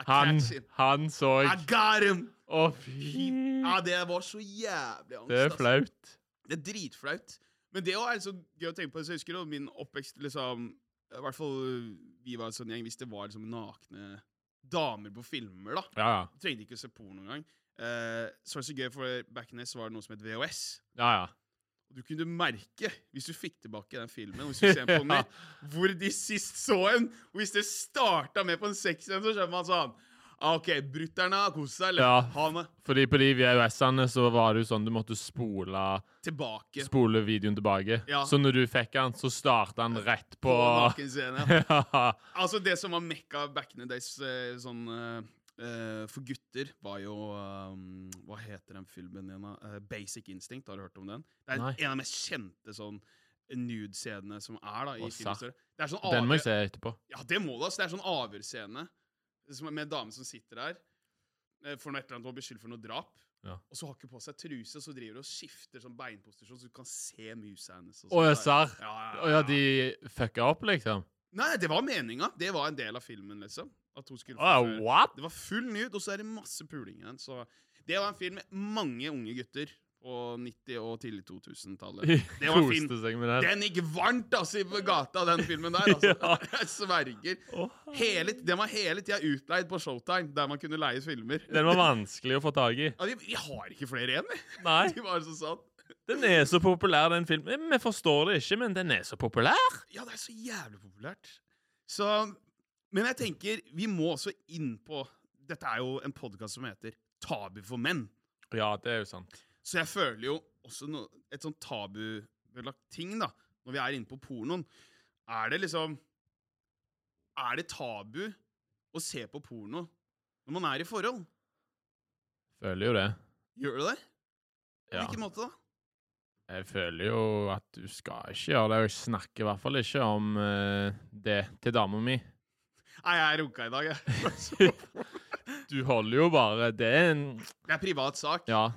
[SPEAKER 1] I
[SPEAKER 3] Han,
[SPEAKER 1] catch him.
[SPEAKER 3] han så
[SPEAKER 1] I
[SPEAKER 3] jeg.
[SPEAKER 1] got him!
[SPEAKER 3] Å, fy.
[SPEAKER 1] Ja, det var så jævlig angst.
[SPEAKER 3] Det er
[SPEAKER 1] ass.
[SPEAKER 3] flaut.
[SPEAKER 1] Det er dritflaut. Men det også er så gøy å tenke på. Så jeg husker jo min oppvekst liksom, I hvert fall vi var en sånn gjeng, hvis det var liksom nakne damer på filmer, da.
[SPEAKER 3] Ja, ja.
[SPEAKER 1] Trengte ikke å se porno engang. Eh, så var det så gøy, for back in the days var det noe som het VHS.
[SPEAKER 3] Ja, ja.
[SPEAKER 1] Og du kunne merke, hvis du fikk tilbake den filmen, og hvis du ser
[SPEAKER 3] <laughs>
[SPEAKER 1] på den
[SPEAKER 3] Ja.
[SPEAKER 1] nytt, hvor de sist så en. Og hvis det starta med på en sexscene, så skjønner man sånn ah, OK, brutter'n har kost seg, eller?
[SPEAKER 3] Ja.
[SPEAKER 1] Han er
[SPEAKER 3] Fordi på de VHS-ene så var det jo sånn du måtte spole,
[SPEAKER 1] tilbake på,
[SPEAKER 3] spole videoen tilbake.
[SPEAKER 1] Ja.
[SPEAKER 3] Så når du fikk den, så starta den rett på, <laughs>
[SPEAKER 1] nakenscene.
[SPEAKER 3] Ja.
[SPEAKER 1] Altså, det som var mekka back in the days eh, sånn eh, eh, for gutter, var jo um, Hva heter den filmen igjen, da? Eh, Basic Instinct, har du hørt om den? Det er
[SPEAKER 3] Nei.
[SPEAKER 1] en av de mest kjente sånn nude-scenene som er da i
[SPEAKER 3] Åh, sa.
[SPEAKER 1] filmhistorien. Det er sånn
[SPEAKER 3] Den må
[SPEAKER 1] avgjø-
[SPEAKER 3] jeg se etterpå.
[SPEAKER 1] Ja, det må du, altså. Det er sånn avhørsscene som- med en dame som sitter der. eh, For noe et eller annet, og beskyldt for noe drap.
[SPEAKER 3] Ja.
[SPEAKER 1] Og så har hun ikke på seg truse, så driver hun og skifter sånn beinposisjon, så du kan se musa hennes. og
[SPEAKER 3] Å ja,
[SPEAKER 1] sånn.
[SPEAKER 3] serr?
[SPEAKER 1] Ja, ja,
[SPEAKER 3] Å ja, de fucka opp, liksom?
[SPEAKER 1] Nei, det var meninga. Det var en del av filmen, liksom. At hun skulle
[SPEAKER 3] Å, ja,
[SPEAKER 1] få se-
[SPEAKER 3] what?
[SPEAKER 1] Det var full nude, og så er det masse puling i den. Så det var en film med mange unge gutter på 90- og tidlig 2000-tallet.
[SPEAKER 3] <laughs>
[SPEAKER 1] Det var fin.
[SPEAKER 3] Koste seg med den.
[SPEAKER 1] Den gikk varmt altså, i gata, den filmen der. Altså.
[SPEAKER 3] <laughs> Ja.
[SPEAKER 1] <laughs> Jeg sverger.
[SPEAKER 3] Å,
[SPEAKER 1] Hele, den var hele tida utleid på Showtime, der man kunne leie filmer.
[SPEAKER 3] den var vanskelig å få tak i.
[SPEAKER 1] Ja, vi, vi har ikke flere igjen, <laughs> vi.
[SPEAKER 3] Nei,
[SPEAKER 1] De var så sånn.
[SPEAKER 3] den er så populær, den filmen. Vi forstår det ikke, men den er så populær.
[SPEAKER 1] Ja, det er så jævlig populært. Så, men jeg tenker, vi må også inn på Dette er jo en podkast som heter Tabu for menn.
[SPEAKER 3] Ja, det er jo sant.
[SPEAKER 1] Så jeg føler jo også no, et sånn tabubelagt ting, da, når vi er inne på pornoen. Er det liksom Er det tabu å se på porno når man er i forhold?
[SPEAKER 3] Føler jo det.
[SPEAKER 1] Gjør du det? På
[SPEAKER 3] Ja.
[SPEAKER 1] hvilken måte da?
[SPEAKER 3] Jeg føler jo at du skal ikke gjøre det, og jeg snakker i hvert fall ikke om eh, det til dama mi.
[SPEAKER 1] Nei, jeg runka i dag,
[SPEAKER 3] <laughs>
[SPEAKER 1] jeg.
[SPEAKER 3] Du holder jo bare Det er en
[SPEAKER 1] Det er privat sak.
[SPEAKER 3] Ja,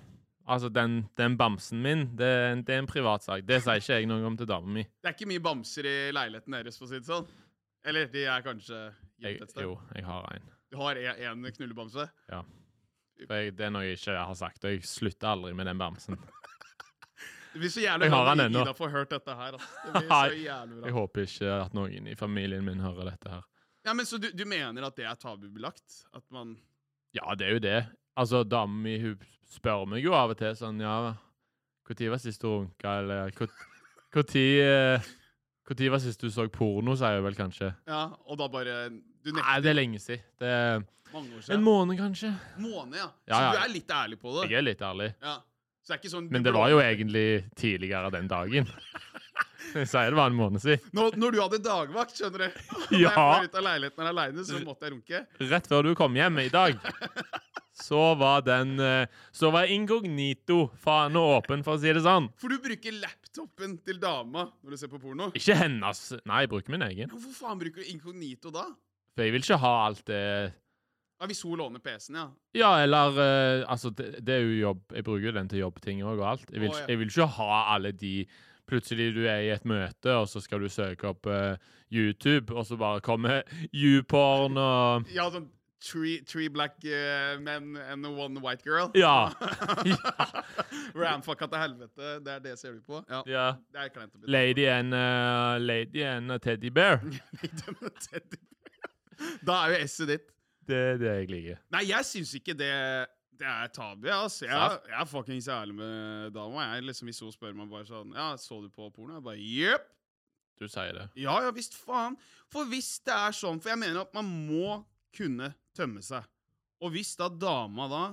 [SPEAKER 3] altså, den, den bamsen min, det, er en- det er en privatsak. Det sier ikke jeg noe om til dama mi.
[SPEAKER 1] Det er ikke mye bamser i leiligheten deres, for å si det sånn. Eller de er kanskje gjemt
[SPEAKER 3] Jeg,
[SPEAKER 1] et sted.
[SPEAKER 3] jo, jeg har en.
[SPEAKER 1] Du har én knullebamse?
[SPEAKER 3] For jeg, det er noe jeg ikke har sagt, og jeg slutter aldri med den bamsen.
[SPEAKER 1] Det blir så jævlig
[SPEAKER 3] Jeg har
[SPEAKER 1] bra når
[SPEAKER 3] han ennå.
[SPEAKER 1] Ida får hørt dette her. ass.
[SPEAKER 3] <laughs>
[SPEAKER 1] Det blir så
[SPEAKER 3] Nei.
[SPEAKER 1] jævlig
[SPEAKER 3] Jeg
[SPEAKER 1] bra.
[SPEAKER 3] håper ikke at noen i familien min hører dette her.
[SPEAKER 1] Ja, men Så du, du mener at det er tabubelagt? At man
[SPEAKER 3] Ja, det er jo det. Altså, dama mi hun spør meg jo av og til sånn Ja, når var sist du runka, eller Når Når var sist du så porno, sier hun vel kanskje.
[SPEAKER 1] Ja, og da bare Du nekter
[SPEAKER 3] Nei, det er lenge siden. Det er
[SPEAKER 1] mange år
[SPEAKER 3] en
[SPEAKER 1] siden.
[SPEAKER 3] måned, kanskje.
[SPEAKER 1] Måned, ja.
[SPEAKER 3] Ja,
[SPEAKER 1] Så
[SPEAKER 3] ja.
[SPEAKER 1] du er litt ærlig på det?
[SPEAKER 3] Jeg er litt ærlig.
[SPEAKER 1] Ja. Så det er ikke sånn du
[SPEAKER 3] Men det
[SPEAKER 1] blå-
[SPEAKER 3] var jo egentlig tidligere den dagen. Jeg sier det var en måned siden.
[SPEAKER 1] når, når du hadde dagvakt, skjønner du Da jeg
[SPEAKER 3] <laughs> Ja.
[SPEAKER 1] fløy ut av leiligheten her aleine, så måtte jeg runke.
[SPEAKER 3] Rett før du kom hjem i dag, så var den eh, Så var inkognito faen og åpen, for å si det sånn.
[SPEAKER 1] For du bruker laptopen til dama når du ser på porno.
[SPEAKER 3] Ikke hennes. Nei, jeg bruker min egen.
[SPEAKER 1] Hvorfor faen bruker du inkognito da?
[SPEAKER 3] For jeg vil ikke ha alt det
[SPEAKER 1] Ja, Hvis hun låner PC-en, ja.
[SPEAKER 3] Ja, eller eh, Altså, det, det er jo jobb. Jeg bruker jo den til jobbting òg og alt. Jeg vil,
[SPEAKER 1] Å, ja.
[SPEAKER 3] ikke- jeg vil ikke ha alle de Plutselig du er i et møte, og så skal du søke opp eh, YouTube, og så bare kommer YouPorn og
[SPEAKER 1] Ja, sånn three, three black eh, men and one white girl. <laughs>
[SPEAKER 3] Ja.
[SPEAKER 1] Ramfucka til helvete. Det er det ser du på? Ja.
[SPEAKER 3] ja.
[SPEAKER 1] Det er kleint å bli
[SPEAKER 3] Lady and, eh, lady and a teddy bear.
[SPEAKER 1] <laughs> Da er jo esset ditt.
[SPEAKER 3] Det er det jeg liker.
[SPEAKER 1] Nei, jeg syns ikke det, det er tabu. jeg, Altså. Jeg,
[SPEAKER 3] Sant.
[SPEAKER 1] jeg er fuckings ærlig med dama. Jeg liksom, Hvis hun spør meg bare sånn Ja, så du på porno? Jeg bare jepp.
[SPEAKER 3] Du sier det.
[SPEAKER 1] Ja, ja visst faen. For hvis det er sånn For jeg mener at man må kunne tømme seg. Og hvis da dama da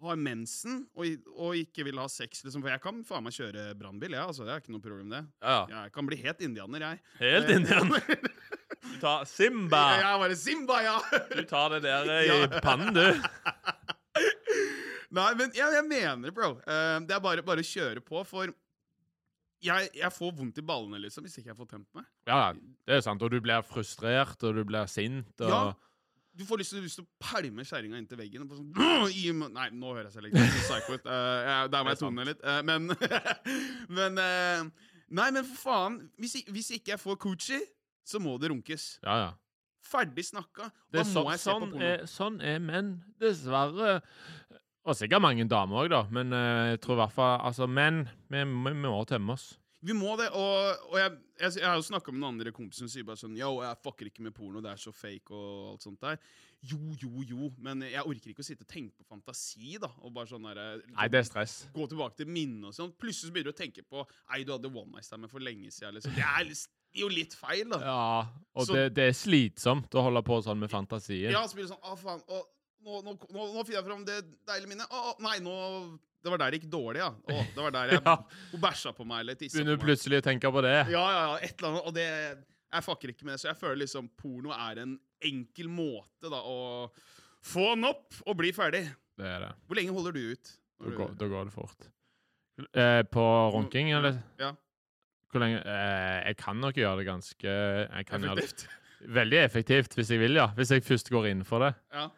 [SPEAKER 1] har mensen og, i- og ikke vil ha sex, liksom For jeg kan faen meg kjøre brannbil, jeg. Ja, altså, det er ikke noe problem, det.
[SPEAKER 3] Ja.
[SPEAKER 1] Jeg kan bli helt indianer, jeg. Eh,
[SPEAKER 3] Helt indian.
[SPEAKER 1] <laughs>
[SPEAKER 3] Du tar Simba.
[SPEAKER 1] Jeg er bare Simba, ja!
[SPEAKER 3] Du tar det der eh, i pannen, du.
[SPEAKER 1] Nei, men jeg, jeg mener det, bro. Eh, det er bare, bare å kjøre på, for jeg, jeg får vondt i ballene liksom, hvis ikke jeg får tømt meg.
[SPEAKER 3] Ja, det er sant. Og du blir frustrert, og du blir sint, og
[SPEAKER 1] Ja. Du får lyst til, lyst til å pælme kjerringa inntil veggen. Og bare sånn, «Åh, i mu-» nei, nå hører jeg selv ikke psycho ut. Eh, jeg- der må jeg
[SPEAKER 3] Det er
[SPEAKER 1] tone ned litt. Eh, men <laughs> men eh, Nei, men for faen. Hvis, ik- hvis ikke jeg får coochie, så må det runkes.
[SPEAKER 3] Ja, ja.
[SPEAKER 1] Ferdig snakka.
[SPEAKER 3] Det
[SPEAKER 1] Da
[SPEAKER 3] er så,
[SPEAKER 1] må jeg se på
[SPEAKER 3] sånn,
[SPEAKER 1] porno.
[SPEAKER 3] er, sånn er menn, dessverre. Og sikkert mange damer òg, da. Men eh, jeg tror i hvert fall Altså, menn, vi, vi må tømme oss.
[SPEAKER 1] Vi må det, og, og jeg, jeg, jeg har jo snakka med den andre kompisen som sier bare sånn Yo, jeg fucker ikke med porno, det er så fake og alt sånt der. Jo, jo, jo, men jeg orker ikke å sitte og tenke på fantasi, da. Og bare sånn der,
[SPEAKER 3] Nei, det er stress.
[SPEAKER 1] Gå tilbake til minnet og sånn. Plutselig så begynner du å tenke på Ei, du hadde one night stand med for lenge siden, liksom. Det er lis- jo litt feil, da.
[SPEAKER 3] Ja, og
[SPEAKER 1] Så-
[SPEAKER 3] det, det er slitsomt å holde på sånn med fantasien.
[SPEAKER 1] Ja, så blir det sånn Å, faen. Å, nå, nå, nå, nå finner jeg fram det deilige minnet. Å, å, nei, nå Det var der det gikk dårlig, ja. Å, det var
[SPEAKER 3] <laughs>
[SPEAKER 1] der jeg
[SPEAKER 3] <laughs> Ja.
[SPEAKER 1] Hun bæsja på meg eller tissa på meg.
[SPEAKER 3] Begynner du plutselig å tenke på det?
[SPEAKER 1] Ja, ja, ja, et eller annet, og det Jeg fucker ikke med det, så jeg føler liksom porno er en enkel måte da å få den opp og bli ferdig.
[SPEAKER 3] Det er det.
[SPEAKER 1] Hvor lenge holder du ut?
[SPEAKER 3] Da
[SPEAKER 1] Når
[SPEAKER 3] går,
[SPEAKER 1] du,
[SPEAKER 3] da går det fort. Eh, på runking, eller?
[SPEAKER 1] Mm. Ja.
[SPEAKER 3] Hvor lenge? Eh, jeg kan nok gjøre det ganske jeg kan gjøre
[SPEAKER 1] effektivt.
[SPEAKER 3] det Veldig effektivt, hvis jeg vil, ja. Hvis jeg først går inn for det.
[SPEAKER 1] Ja.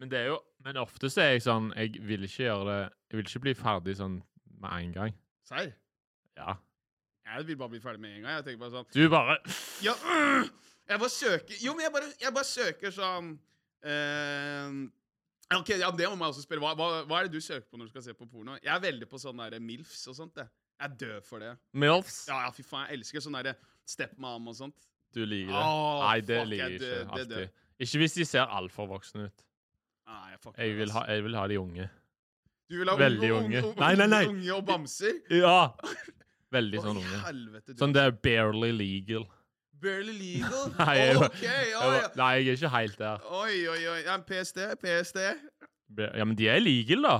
[SPEAKER 3] Men det er jo Men ofte så er jeg sånn Jeg vil ikke gjøre det Jeg vil ikke bli ferdig sånn med en gang.
[SPEAKER 1] Serr?
[SPEAKER 3] Ja.
[SPEAKER 1] Jeg vil bare bli ferdig med en gang. Jeg tenker bare sånn
[SPEAKER 3] Du bare
[SPEAKER 1] Ja, <clears throat> øh, jeg bare søker Jo, men jeg bare, jeg bare søker sånn eh, Ok, ja, Det må man også spørre. Hva, hva, hva er det du søker på når du skal se på porno? Jeg er veldig på sånn der MILFs og sånt. Jeg, jeg er død for det.
[SPEAKER 3] Milfs.
[SPEAKER 1] Ja, ja, fy faen, jeg elsker sånn derre stepmom og sånt.
[SPEAKER 3] Du liker det.
[SPEAKER 1] Åh,
[SPEAKER 3] Nei, det
[SPEAKER 1] fuck,
[SPEAKER 3] liker
[SPEAKER 1] jeg
[SPEAKER 3] jeg ikke.
[SPEAKER 1] dø- det dø.
[SPEAKER 3] alltid. Ikke hvis de ser altfor voksne ut.
[SPEAKER 1] Nei, jeg fucker
[SPEAKER 3] Jeg
[SPEAKER 1] det,
[SPEAKER 3] vil ha,
[SPEAKER 1] ass.
[SPEAKER 3] jeg vil ha de unge.
[SPEAKER 1] Du vil ha
[SPEAKER 3] veldig
[SPEAKER 1] unge,
[SPEAKER 3] unge.
[SPEAKER 1] unge,
[SPEAKER 3] Nei, nei, nei.
[SPEAKER 1] unge og bamser?
[SPEAKER 3] Ja! Veldig
[SPEAKER 1] Å,
[SPEAKER 3] sånn
[SPEAKER 1] i
[SPEAKER 3] unge.
[SPEAKER 1] helvete, du.
[SPEAKER 3] Sånn det er barely legal.
[SPEAKER 1] Barely legal?
[SPEAKER 3] <laughs> Nei, jeg-
[SPEAKER 1] OK, ja, ja.
[SPEAKER 3] Jeg var- Nei, jeg er ikke helt der.
[SPEAKER 1] Oi, oi, oi. Ja, PST, PST.
[SPEAKER 3] Ba- Ja, Men de er legal, da.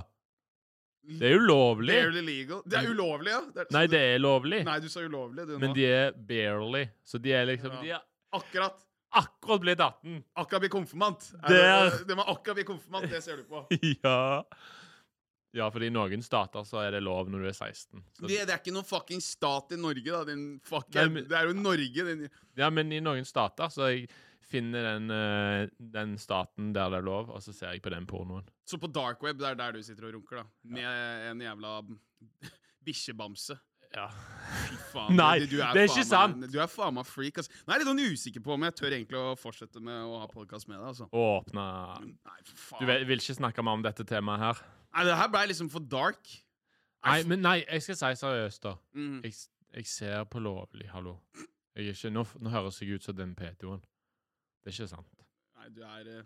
[SPEAKER 3] Det er jo lovlig.
[SPEAKER 1] Barely legal. Det er ulovlig, ja? Det er-
[SPEAKER 3] Nei, det er lovlig.
[SPEAKER 1] <laughs> Nei, du sa ulovlig, du nå.
[SPEAKER 3] Men de er barely. Så de er liksom
[SPEAKER 1] Ja.
[SPEAKER 3] De er
[SPEAKER 1] Akkurat.
[SPEAKER 3] akkurat blitt 18.
[SPEAKER 1] Akkurat bli konfirmant. Er
[SPEAKER 3] Der.
[SPEAKER 1] <laughs> Det, det var akkurat bli konfirmant, det ser du på.
[SPEAKER 3] <laughs> ja. Ja, fordi i noen stater så er det lov når du er 16. Så,
[SPEAKER 1] Det, det er ikke noen fucking stat i Norge, da. Din fucking,
[SPEAKER 3] Nei, men-
[SPEAKER 1] det er jo Norge, din
[SPEAKER 3] ja, men i noen stater så jeg finner den, eh, den staten der det er lov, og så ser jeg på den pornoen.
[SPEAKER 1] Så på dark web, det er der du sitter og runker, da. Med en jævla <laughs> bikkjebamse.
[SPEAKER 3] Ja.
[SPEAKER 1] Fy faen,
[SPEAKER 3] Nei,
[SPEAKER 1] du- du
[SPEAKER 3] det er ikke
[SPEAKER 1] faen
[SPEAKER 3] sant.
[SPEAKER 1] meg- Du er faen meg freak, ass. Nå er jeg litt sånn usikker på om jeg tør egentlig å fortsette med å ha podkast med deg, altså.
[SPEAKER 3] <laughs> Og åpne
[SPEAKER 1] Nei, for faen.
[SPEAKER 3] Du vil, vil ikke snakke mer om dette temaet her?
[SPEAKER 1] Nei, det her ble liksom for dark.
[SPEAKER 3] Nei, men nei, jeg skal si seriøst, da.
[SPEAKER 1] Mm.
[SPEAKER 3] Jeg, s- jeg ser på lovlig, hallo. Jeg er ikke, nå, f- nå høres jeg ut som den pedoen. Det er ikke sant.
[SPEAKER 1] Nei, du er eh,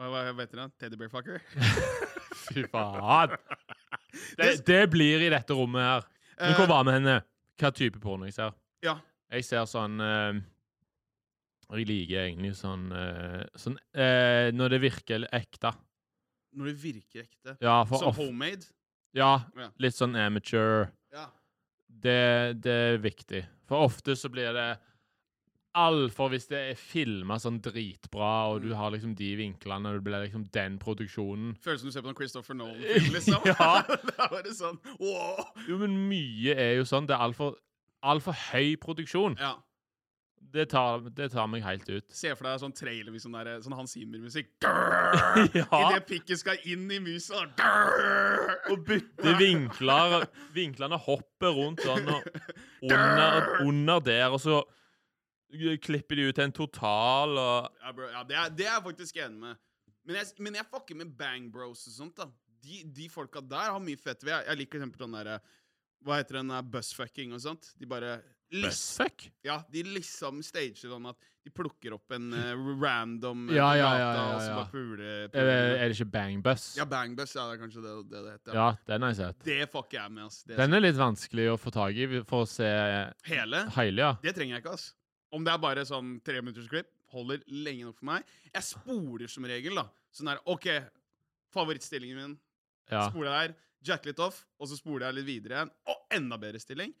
[SPEAKER 1] Hva, hva heter den? Teddybearfucker?
[SPEAKER 3] Fy <laughs> faen! Det, det blir i dette rommet her. Men
[SPEAKER 1] Eh,
[SPEAKER 3] hvor var vi henne? Hva type porno jeg ser?
[SPEAKER 1] Ja.
[SPEAKER 3] Jeg ser sånn eh, Jeg liker egentlig sånn, eh, sånn eh, Når det virker litt ekte.
[SPEAKER 1] Når det virker ekte.
[SPEAKER 3] Ja, for
[SPEAKER 1] Som
[SPEAKER 3] of,
[SPEAKER 1] homemade?
[SPEAKER 3] ja,
[SPEAKER 1] Ja.
[SPEAKER 3] litt sånn amateur.
[SPEAKER 1] Ja.
[SPEAKER 3] Det, det er viktig. For ofte så blir det Altfor hvis det er filma sånn dritbra, og
[SPEAKER 1] Mm.
[SPEAKER 3] du har liksom de vinklene, og det blir liksom den produksjonen.
[SPEAKER 1] Føles som du ser på noen Christopher
[SPEAKER 3] <laughs>
[SPEAKER 1] Nolan-film, liksom.
[SPEAKER 3] Ja.
[SPEAKER 1] <laughs> da var det sånn wow.
[SPEAKER 3] Jo, men mye er jo sånn. Det er altfor alt for høy produksjon.
[SPEAKER 1] Ja.
[SPEAKER 3] Det tar, det tar meg helt ut.
[SPEAKER 1] Se for deg sånn trailer med sånn, der, sånn Hans
[SPEAKER 3] <laughs>
[SPEAKER 1] Zimmer-musikk.
[SPEAKER 3] Ja.
[SPEAKER 1] Idet pikken skal inn i musa. Grrr!
[SPEAKER 3] Og bytte vinkler. Vinklene hopper rundt sånn, og under, under der, og så klipper de ut til en total, og
[SPEAKER 1] Ja, bro, ja, det, er, det er jeg faktisk enig med. Men jeg, men jeg fucker med Bang Bros og sånt. da De, de folka der har mye fett ved. Jeg, jeg liker for eksempel den derre Hva heter den der bussfucking og sånt? De bare lis-
[SPEAKER 3] Fuck.
[SPEAKER 1] Ja, de liksom stager sånn at de plukker opp en eh, random eh,
[SPEAKER 3] Ja, ja,
[SPEAKER 1] plate,
[SPEAKER 3] ja, ja, Eh,
[SPEAKER 1] og så
[SPEAKER 3] ja.
[SPEAKER 1] bare puler
[SPEAKER 3] Er
[SPEAKER 1] puler
[SPEAKER 3] det-
[SPEAKER 1] den.
[SPEAKER 3] er det ikke Bang Bus?
[SPEAKER 1] Ja, Bang Bus, ja, det er kanskje det det, det heter.
[SPEAKER 3] Ja, den har jeg sett.
[SPEAKER 1] Det fucker jeg med, ass. Det,
[SPEAKER 3] Den er litt vanskelig å få tak i for å se
[SPEAKER 1] hele?
[SPEAKER 3] hele, ja.
[SPEAKER 1] Det trenger jeg ikke, ass. Om det er bare sånn treminuttersklipp, holder lenge nok for meg. Jeg spoler som regel, da. Sånn der, OK, favorittstillingen min.
[SPEAKER 3] ja.
[SPEAKER 1] Spoler jeg der, jack litt off, og så spoler jeg litt videre igjen. Og enda bedre stilling.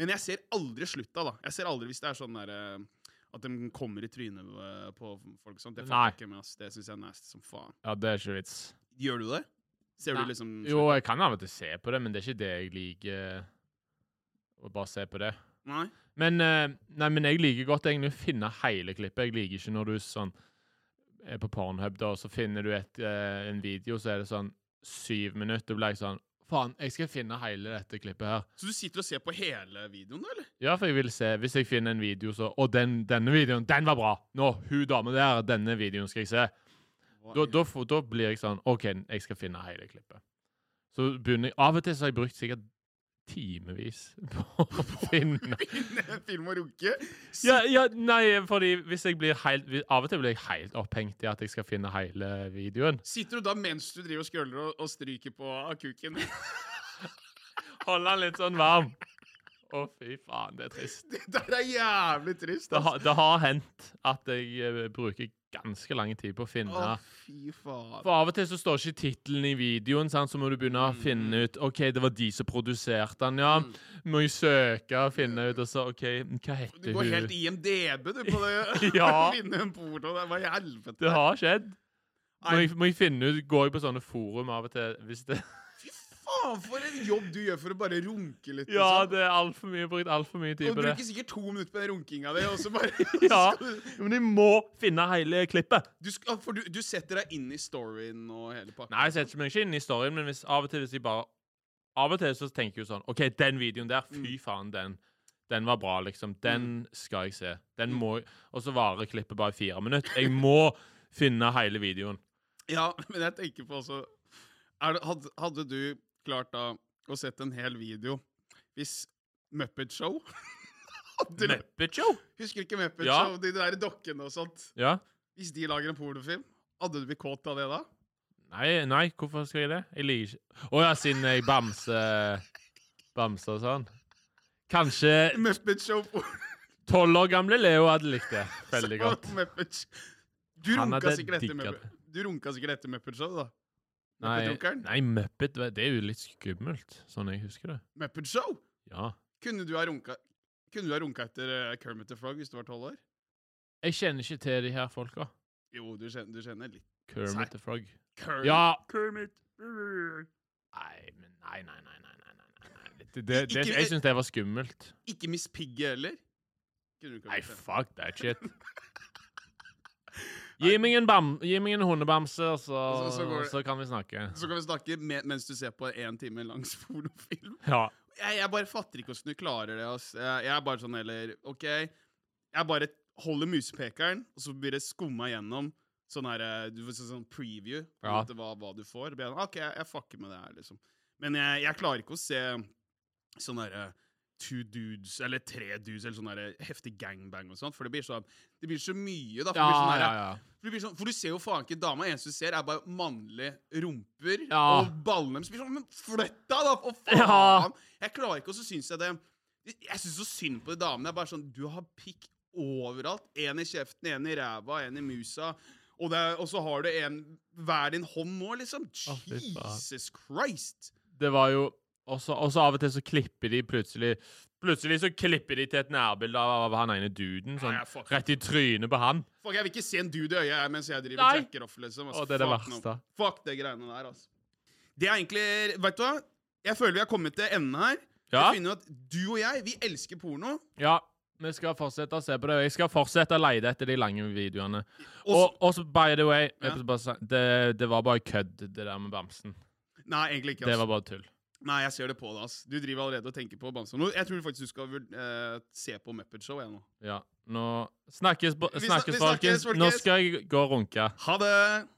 [SPEAKER 1] Men jeg ser aldri slutta, da. Jeg ser aldri hvis det er sånn der eh, at de kommer i trynet eh, på folk og sånt. Det
[SPEAKER 3] Nei.
[SPEAKER 1] fucker jeg ikke med, ass. Det syns jeg er nasty som faen.
[SPEAKER 3] Ja, det er ikke vits.
[SPEAKER 1] Gjør du det? Ser
[SPEAKER 3] Nei.
[SPEAKER 1] du liksom
[SPEAKER 3] Jo, jeg kan av og til se på det, men det er ikke det jeg liker å bare se på det.
[SPEAKER 1] Nei?
[SPEAKER 3] Men, eh, nei, men jeg liker godt egentlig å finne hele klippet. Jeg liker ikke når du sånn er på Pornhub, da, og så finner du et, eh, en video, så er det sånn syv minutter. Da blir jeg sånn Faen, jeg skal finne hele dette klippet her.
[SPEAKER 1] Så du sitter og ser på hele videoen, da, eller?
[SPEAKER 3] Ja, for jeg vil se Hvis jeg finner en video, så Å, den, denne videoen, den var bra! Nå, hun dama der, denne videoen skal jeg se. Da, da, får- da blir jeg sånn OK, jeg skal finne hele klippet. Så begynner jeg Av og til så har jeg brukt sikkert timevis <laughs> på å finne
[SPEAKER 1] <laughs> Film og runke?
[SPEAKER 3] Ja, ja, nei, fordi hvis jeg blir helt vi- Av og til blir jeg helt opphengt i at jeg skal finne hele videoen.
[SPEAKER 1] Sitter du da mens du driver og skøller og, og stryker på av kuken?
[SPEAKER 3] Holde den litt sånn varm. Å, fy faen, det er trist.
[SPEAKER 1] <laughs> Det der er jævlig trist.
[SPEAKER 3] Det,
[SPEAKER 1] Altså.
[SPEAKER 3] har- det har hendt at jeg eh, bruker ganske lang tid på å finne
[SPEAKER 1] Å, fy faen.
[SPEAKER 3] For av og til så står ikke tittelen i videoen, sant? så må du begynne å finne ut OK, det var de som produserte den, ja.
[SPEAKER 1] Mm.
[SPEAKER 3] Må jeg søke og finne ut, og så OK, hva
[SPEAKER 1] Du
[SPEAKER 3] heter
[SPEAKER 1] går
[SPEAKER 3] hun?
[SPEAKER 1] helt IMDb, du, på det.
[SPEAKER 3] <laughs> Ja.
[SPEAKER 1] <laughs> Vinne en porno. der. Hva i helvete?
[SPEAKER 3] Det har skjedd. Må
[SPEAKER 1] Nei.
[SPEAKER 3] jeg, må jeg finne ut Går jeg på sånne forum av og til hvis det
[SPEAKER 1] Fy faen, faen for en jobb du gjør for å bare runke litt.
[SPEAKER 3] Ja,
[SPEAKER 1] liksom.
[SPEAKER 3] det er altfor mye. Brukt altfor mye tid
[SPEAKER 1] Og
[SPEAKER 3] på det.
[SPEAKER 1] bruker sikkert to minutter på den runkinga di, og så bare
[SPEAKER 3] <laughs>
[SPEAKER 1] <laughs>
[SPEAKER 3] Ja. Men de må finne hele klippet.
[SPEAKER 1] du, sk- ja, For du, du setter deg inn i storyen og hele pakka?
[SPEAKER 3] Nei, jeg setter meg ikke inn i storyen, men hvis, av og til hvis jeg bare Av og til så tenker jeg jo sånn OK, den videoen der, fy faen, den den var bra, liksom. Den skal jeg se. Den må Og så varer klippet bare fire minutter. Jeg må finne hele videoen.
[SPEAKER 1] Ja, men jeg tenker på også er det, hadde, hadde du klart da å sett en hel video hvis Muppet Show <laughs> hadde,
[SPEAKER 3] Muppet Show!
[SPEAKER 1] Husker ikke Muppet
[SPEAKER 3] Ja.
[SPEAKER 1] Show, de der dokkene og sånt?
[SPEAKER 3] Ja.
[SPEAKER 1] Hvis de lager en pornofilm, hadde du blitt kåt av det da?
[SPEAKER 3] Nei, nei, hvorfor skal jeg det? Jeg liker ikke Å ja, siden jeg bamser Bamser og sånn. Kanskje
[SPEAKER 1] Muppet Show porno.
[SPEAKER 3] tolv år gamle Leo hadde likt det
[SPEAKER 1] <laughs>
[SPEAKER 3] veldig godt.
[SPEAKER 1] Muppet Show. Du
[SPEAKER 3] Han
[SPEAKER 1] runka
[SPEAKER 3] hadde
[SPEAKER 1] sikkert etter
[SPEAKER 3] digga
[SPEAKER 1] Muppet,
[SPEAKER 3] det.
[SPEAKER 1] du runka sikkert etter Muppet Show, da?
[SPEAKER 3] Nei,
[SPEAKER 1] Muppet-runkeren?
[SPEAKER 3] nei, Muppet Det er jo litt skummelt, sånn jeg husker det.
[SPEAKER 1] Muppet Show?
[SPEAKER 3] Ja.
[SPEAKER 1] Kunne du ha runka, kunne du ha runka etter eh, Kermit the Frog hvis du var tolv år?
[SPEAKER 3] Jeg kjenner ikke til de her folka.
[SPEAKER 1] Jo, du kjenner, du kjenner litt Nei.
[SPEAKER 3] Kermit the Frog.
[SPEAKER 1] Kermit.
[SPEAKER 3] Ja!
[SPEAKER 1] Kermit.
[SPEAKER 3] Nei, men nei, nei, nei, nei, nei, nei, nei. Det,
[SPEAKER 1] <laughs>
[SPEAKER 3] det, det,
[SPEAKER 1] Ikke-
[SPEAKER 3] jeg syns det var skummelt.
[SPEAKER 1] Ikke Miss Piggy heller? Kunne du ikke ha
[SPEAKER 3] Nei,
[SPEAKER 1] gjort det?
[SPEAKER 3] fuck
[SPEAKER 1] <laughs>
[SPEAKER 3] that shit. Gi meg en, bam, gi meg en hundebamse, og så,
[SPEAKER 1] Og så- så går det-
[SPEAKER 3] så kan vi snakke.
[SPEAKER 1] Så kan vi snakke me- mens du ser på en time langs <laughs> pornofilm.
[SPEAKER 3] Ja.
[SPEAKER 1] Jeg, jeg bare fatter ikke åssen du klarer det. Ass. Jeg, jeg er bare sånn heller OK, jeg bare holder musepekeren, og så blir det skumma gjennom. Sånn her, eh, du får sånn- sånn preview på en
[SPEAKER 3] Ja.
[SPEAKER 1] måte, hva, hva du får. Og blir jeg sånn, OK, jeg, jeg fucker med det her, liksom. Men jeg, jeg klarer ikke å se sånn derre Two dudes, eller tre dudes, eller sånn derre heftig gangbang og sånn. For det blir, sånn, det blir så mye, da. For, det blir sånn
[SPEAKER 3] Ja,
[SPEAKER 1] derre-
[SPEAKER 3] ja, ja.
[SPEAKER 1] For, det blir sånn, for du ser jo faen ikke dama. Eneste du ser, er bare mannlige rumper
[SPEAKER 3] Ja.
[SPEAKER 1] og ballene deres. Blir sånn, Men flytt deg, da! For faen!
[SPEAKER 3] Ja.
[SPEAKER 1] Jeg klarer ikke, og så syns jeg det Jeg syns så synd på de damene. Det er bare sånn Du har pikk overalt. Én i kjeften, én i ræva, én i musa. Og, det er, og så har du en hver din hånd nå, liksom.
[SPEAKER 3] Å, fy faen.
[SPEAKER 1] Jesus Christ!
[SPEAKER 3] Det var jo også, også av og til så klipper de plutselig Plutselig så klipper de til et nærbilde av, av han ene duden. Sånn,
[SPEAKER 1] Nei, jeg fucker.
[SPEAKER 3] rett i trynet på han.
[SPEAKER 1] Fuck, Jeg vil ikke se en dude i øyet jeg, mens jeg driver
[SPEAKER 3] Nei.
[SPEAKER 1] og jacker off. liksom.
[SPEAKER 3] Å, det er det
[SPEAKER 1] fuck
[SPEAKER 3] verste.
[SPEAKER 1] no. Fuck det greiene der, altså. Det er egentlig Vet du hva? Jeg føler vi har kommet til enden her.
[SPEAKER 3] Ja.
[SPEAKER 1] Jeg finner at Du og jeg, vi elsker porno.
[SPEAKER 3] Ja, vi skal fortsette å se på det. og Jeg skal fortsette å lete etter de lange videoene.
[SPEAKER 1] Og,
[SPEAKER 3] Og også, by the way,
[SPEAKER 1] Ja.
[SPEAKER 3] jeg må bare si- det, det var bare kødd, det der med bamsen.
[SPEAKER 1] nei, egentlig ikke.
[SPEAKER 3] Det
[SPEAKER 1] Altså.
[SPEAKER 3] var bare tull.
[SPEAKER 1] Nei, jeg ser det på deg. ass. Du driver allerede og tenker på bamser. Nå, Jeg tror faktisk du skal vurd- eh, se på Muppet Show jeg, nå.
[SPEAKER 3] Ja. Nå snakkes, bo-
[SPEAKER 1] Vi snak-
[SPEAKER 3] snakkes,
[SPEAKER 1] vi snakkes,
[SPEAKER 3] folkens. Nå
[SPEAKER 1] folkens.
[SPEAKER 3] skal jeg gå og runke.
[SPEAKER 1] Ha det!